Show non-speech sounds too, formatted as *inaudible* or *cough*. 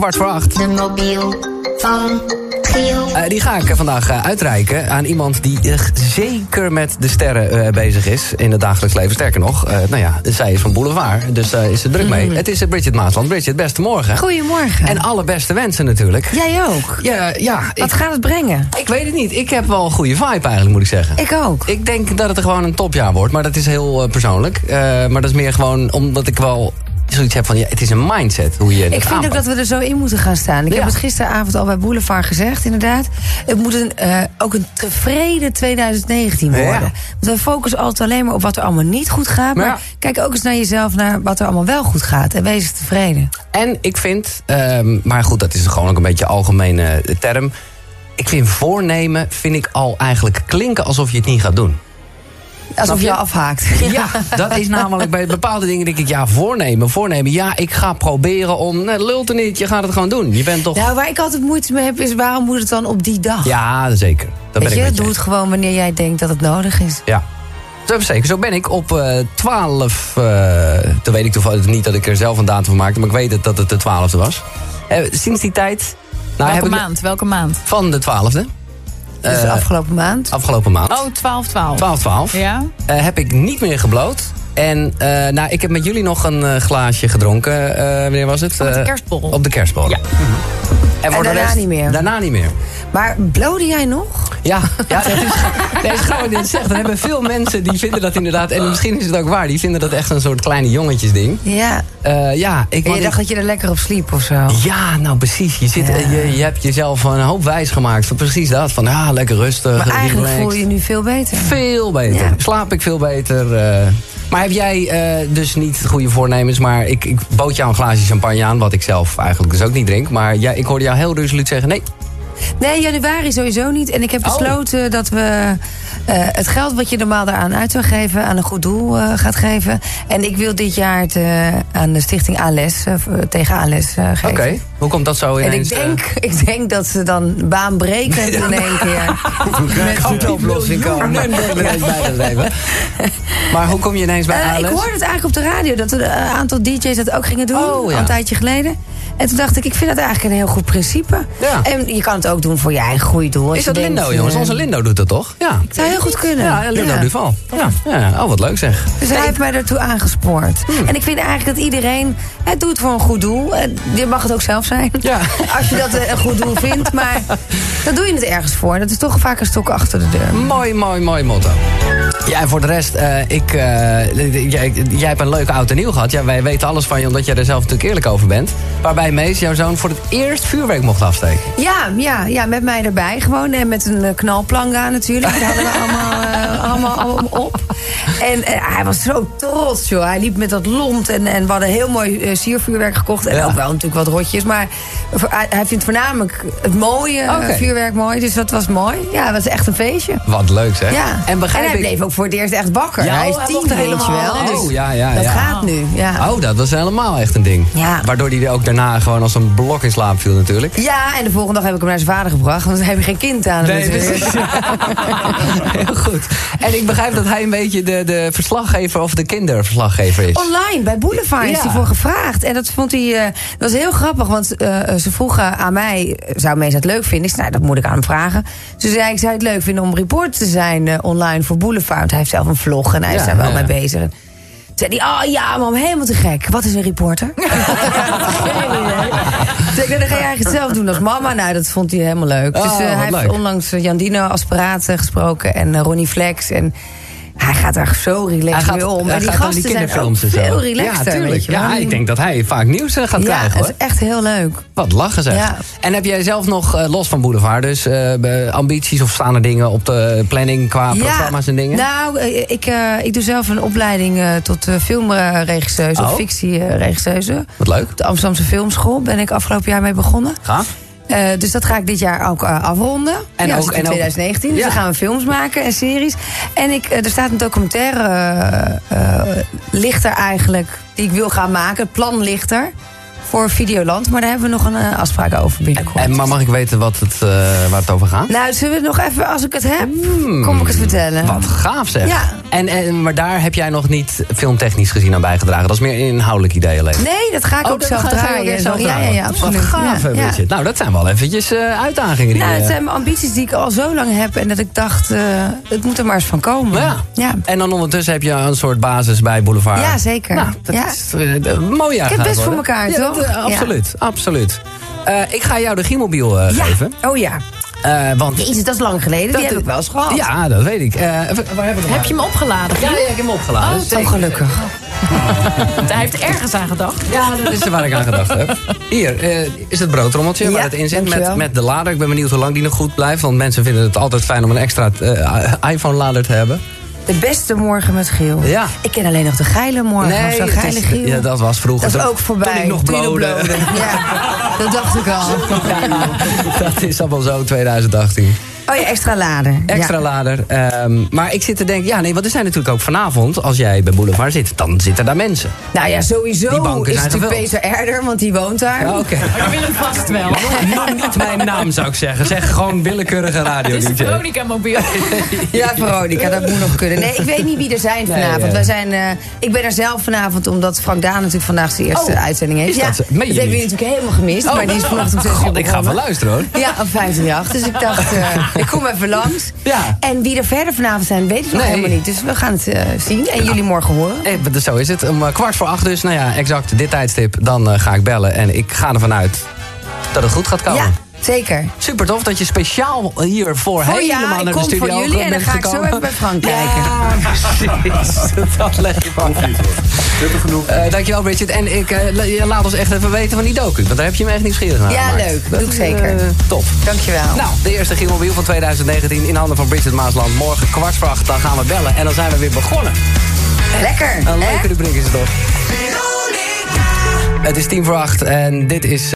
kwart voor acht. De mobiel van Giel. Eh, die ga ik eh, vandaag eh, uitreiken aan iemand die eh, zeker met de sterren eh, bezig is in het dagelijks leven. Sterker nog, eh, nou ja, zij is van Boulevard, dus daar is ze druk Mm. mee. Het is eh, Bridget Maasland. Bridget, beste morgen. Goedemorgen. En alle beste wensen natuurlijk. jij ook. Ja, ja ik, Wat gaat het brengen? ik weet het niet. Ik heb wel een goede vibe eigenlijk, moet ik zeggen. Ik ook. Ik denk dat het er gewoon een topjaar wordt, maar dat is heel eh, persoonlijk. Eh, maar dat is meer gewoon omdat ik wel zoiets heb van, ja, het is een mindset hoe je Ik vind ook dat we er zo in moeten gaan staan. Ik Ja. heb het gisteravond al bij Boulevard gezegd, inderdaad. Het moet een, eh, ook een tevreden 2019 worden. Ja. Want we focussen altijd alleen maar op wat er allemaal niet goed gaat. Maar Ja. kijk ook eens naar jezelf, naar wat er allemaal wel goed gaat. En wees tevreden. En ik vind, ehm, maar goed, dat is gewoon ook een beetje een algemene eh, term. Ik vind voornemen, vind ik al eigenlijk klinken alsof je het niet gaat doen. Alsof je, je? afhaakt. Ja, dat is namelijk bij bepaalde dingen denk ik, ja, voornemen, voornemen. Ja, ik ga proberen om, nee, lult er niet, je gaat het gewoon doen. Je bent toch... Nou, waar ik altijd moeite mee heb, is waarom moet het dan op die dag? Ja, zeker. Dat Weet ben ik je, met je doe eens. het gewoon wanneer jij denkt dat het nodig is. Ja. Zo zeker. Zo ben ik op eh 12. eh toen weet ik toevallig niet dat ik er zelf een datum van maakte, maar ik weet het, dat het de 12e was. Eh, sinds die tijd. Nou, Welke heb ik maand? Welke maand? van de 12e, Dus Eh, afgelopen maand. afgelopen maand. Oh, 12, 12. 12-12. Ja? eh, heb ik niet meer gebloot. En eh, nou, ik heb met jullie nog een eh, glaasje gedronken. eh wanneer was het? de Eh, kerstborrel. Op de kerstborrel. Ja. En, voor de daarna rest- niet meer. Daarna niet meer. Maar blode jij nog? Ja, ja dat is, *laughs* nee, is gewoon dit zegt. Er hebben veel mensen die vinden dat inderdaad... en misschien is het ook waar, die vinden dat echt een soort kleine jongetjesding. Ja. Eh ja, ik... En want ik- je dacht dat je er lekker op sliep of zo? ja, nou precies. Je, zit, Ja. eh, je, je hebt jezelf een hoop wijs gemaakt van precies dat. Van ja, lekker rustig, Maar eigenlijk relaxed. voel je je nu veel beter. Veel beter. Ja. Slaap ik veel beter. eh. Maar heb jij eh, dus niet goede voornemens, maar ik, ik bood jou een glaasje champagne aan, wat ik zelf eigenlijk dus ook niet drink. Maar jij, ik hoorde jou heel resoluut zeggen, nee, Nee, januari sowieso niet. En ik heb Oh. besloten dat we eh, het geld wat je normaal daaraan uit zou geven... aan een goed doel eh, gaat geven. En ik wil dit jaar het eh, aan de stichting ALES, eh, voor- tegen ALES eh, geven. oké. Hoe komt dat zo En ik ineens? eh, denk, *laughs* ik denk dat ze dan baanbrekend in één keer... uh, met- oplossing komen. bij dat *laughs* leven. Maar hoe kom je ineens bij Eh, ik Alice? hoorde het eigenlijk op de radio dat er eh, een aantal DJ's dat ook gingen doen. Oh, ja. Al een tijdje geleden. En toen dacht ik, ik vind dat eigenlijk een heel goed principe. Ja. En je kan het ook doen voor je eigen goede doel. als Is je dat denkt, Lindo, jongens? eh, Onze Lindo doet dat toch? Ja. zou heel goed kunnen. Ja, Lindo Ja. Duval. Ja. ja. Oh, wat leuk zeg. Dus hij heeft mij daartoe aangespoord. Hmm. En ik vind eigenlijk dat iedereen... Het doet voor een goed doel. Eh, Je mag het ook zelf zijn. Ja. *laughs* Als je dat eh, een goed doel vindt. Maar *laughs* dan doe je het ergens voor. Dat is toch vaak een stok achter de deur. Mooi, mooi, mooi motto. Ja, en voor de rest, eh, ik, eh, jij, jij hebt een leuke oud en nieuw gehad. Ja, wij weten alles van je, omdat jij er zelf natuurlijk eerlijk over bent. Waarbij Mees, jouw zoon, voor het eerst vuurwerk mocht afsteken. Ja, ja, ja, met mij erbij gewoon. En met een eh, knalplanga natuurlijk. Die *laughs* hadden we allemaal, eh, allemaal, allemaal op. En eh, hij was zo trots, joh. Hij liep met dat lont en, en we hadden heel mooi eh, siervuurwerk gekocht. En Ja. ook wel natuurlijk wat rotjes. Maar voor- hij, hij vindt voornamelijk het mooie eh, Oké. vuurwerk mooi. Dus dat was mooi. Ja, het was echt een feestje. Wat leuk, zeg. Ja. En begrijp hij ik... bleef ook voor het eerst echt bakker. Ja, hij is oh, hij tien, mocht er weet je wel. helemaal- Dus oh, ja, ja, dat ja. gaat nu, ja. Oh, dat was helemaal echt een ding. Ja. Waardoor hij er ook daarna gewoon als een blok in slaap viel natuurlijk. Ja, en de volgende dag heb ik hem naar zijn vader gebracht. Want we hebben geen kind aan Dus- hem natuurlijk. dus- *laughs* Heel goed. En ik begrijp dat hij een beetje de, de verslaggever of de kinderverslaggever is. Online, bij Boulevard is Ja. hij voor gevraagd. En dat vond hij, eh, dat was heel grappig, want eh, ze vroegen aan mij, eh, zou mensen het leuk vinden? Ik zei, nou, dat moet ik aan hem vragen. Ze zei, ik zou het leuk vinden om reporter te zijn eh, online voor Boulevard. Want hij heeft zelf een vlog en hij Ja, is daar wel ja. mee bezig. En Toen zei hij, oh ja, man, helemaal te gek. Wat is een *laughs* reporter? Geen idee. Toen zei ik, nou, dan ga je eigenlijk hetzelfde doen als mama. Nou, dat vond hij helemaal leuk. Oh, dus eh, wat hij heeft leuk. onlangs eh, Jan Dino als paraat eh, gesproken en eh, Ronnie Flex en... Hij gaat daar zo relaxed mee om. hij en die gaat aan gasten zijn ook kinderfilms en zo. veel relaxter. Ja, tuurlijk. weet je wel. Ja, ik denk dat hij vaak nieuws eh, gaat Ja, krijgen, het hoor. is echt heel leuk. Wat lachen zeg. Ja. En heb jij zelf nog, eh, los van Boulevard, dus eh, be- ambities of staan er dingen op de planning qua programma's en dingen? Nou, eh, ik, eh, ik doe zelf een opleiding eh, tot eh, filmregisseuse Oh. of fictieregisseuse. Wat leuk. Op de Amsterdamse Filmschool ben ik afgelopen jaar mee begonnen. Gaaf. Eh, dus dat ga ik dit jaar ook eh, afronden. En En ja, ook- ook, in en ook- 2019. Dus Ja. dan gaan we films maken en series. En ik, eh, er staat een documentaire eh, eh, ligt er eigenlijk, die ik wil gaan maken. Het plan ligt er. voor Videoland. Maar daar hebben we nog een eh, afspraak over binnenkort. En, maar mag ik weten wat het, eh, waar het over gaat? Nou, zullen we het nog even, als ik het heb, kom ik het vertellen. Wat gaaf zeg. Ja. En, en, maar daar heb jij nog niet filmtechnisch gezien aan bijgedragen. Dat is meer een inhoudelijk idee alleen. Nee, dat ga ik ook Oh, dat zelf ga- ga je ook draaien. weer zelf ja, ja, draaien. ja, absoluut. Wat gaaf, hè, ja, ja. Bridget. Nou, dat zijn wel eventjes eh, uitdagingen. Die, Nou, het eh, zijn ambities die ik al zo lang heb en dat ik dacht, eh, het moet er maar eens van komen. Oh, Ja. ja. En dan ondertussen heb je een soort basis bij Boulevard. Ja, zeker. Nou, dat Ja. is eh, een mooi jaar Ik heb gaat best voor worden. elkaar, Ja, dat, toch? eh, Ja. absoluut, absoluut. Eh, ik ga jou de Giemobiel eh, Ja. geven. Oh ja. Eh, want Jezus, dat is lang geleden. die heb ik wel eens gehad. Ja, dat weet ik. Eh, even- waar heb ik hem? Heb je hem opgeladen? Ja, ja, ik heb hem opgeladen. Oh, Oh, Zeker. gelukkig. Hij heeft ergens aan gedacht. Ja, dat is waar ik aan gedacht heb. Hier eh, is het broodrommeltje waar Ja, het in zit met, dankjewel. met de lader. Ik ben benieuwd hoe lang die nog goed blijft. Want mensen vinden het altijd fijn om een extra eh, iPhone-lader te hebben. De beste morgen met Giel. Ja. Ik ken alleen nog de geile morgen. of zo het geile is- Giel. ja, dat was vroeger. Dat is Toen- ook voorbij. Toen ik nog Toen je blode. *laughs* blode. Ja, dat dacht ik al. Ah. *laughs* dat is allemaal zo 2018. Oh ja, extra lader. Extra ja. lader. ehm, maar ik zit te denken, ja nee, want er zijn natuurlijk ook vanavond... als jij bij Boulevard zit, dan zitten daar mensen. Nou ja, Die sowieso banken is zijn het natuurlijk gevuld. Oh, Peter Erder, want die woont daar. Oké. *laughs* Maar Willem vast wel. Noem niet mijn naam, zou ik zeggen. Zeg gewoon willekeurige radio. Het is de Veronica mobiel. Ja, Veronica, dat moet nog kunnen. Nee, ik weet niet wie er zijn vanavond. ja. Wij zijn, eh, ik ben er zelf vanavond, omdat Frank Daan natuurlijk vandaag zijn eerste Oh, uitzending heeft. is ja, dat zo? Meen je hebben niet? Oh, jullie natuurlijk helemaal gemist, maar die is vanochtend om zes uur God, ik ga begonnen. wel luisteren hoor. Ja, op 538. Dus ik dacht, eh, ik kom even langs. Ja. En wie er verder vanavond zijn, weet ik nog Nee. helemaal niet. Dus we gaan het eh, zien en jullie morgen horen. Eh, dus zo is het. Om eh, kwart voor acht dus, nou ja, exact dit tijdstip. Dan eh, ga ik bellen en ik ga ervan uit dat het goed gaat komen. Ja, zeker. Super tof dat je speciaal hiervoor Voor ja, helemaal ik naar de kom studio voor jullie en dan bent ga ik zo gekomen. even bij Frank Ja, precies. *laughs* Dat leg je van. genoeg. Eh, dankjewel Bridget. En ik, eh, la- je laat ons echt even weten van die docu. Want daar heb je me echt nieuwsgierig naar Ja, gemaakt. leuk. Dat Doe ik is, zeker. eh, top. Dankjewel. Nou, de eerste Gielmobiel van 2019 in handen van Bridget Maasland. Morgen kwart voor acht, dan gaan we bellen. En dan zijn we weer begonnen. Lekker. Een hè? leuke rubriek is het toch. Het is tien voor acht en dit is...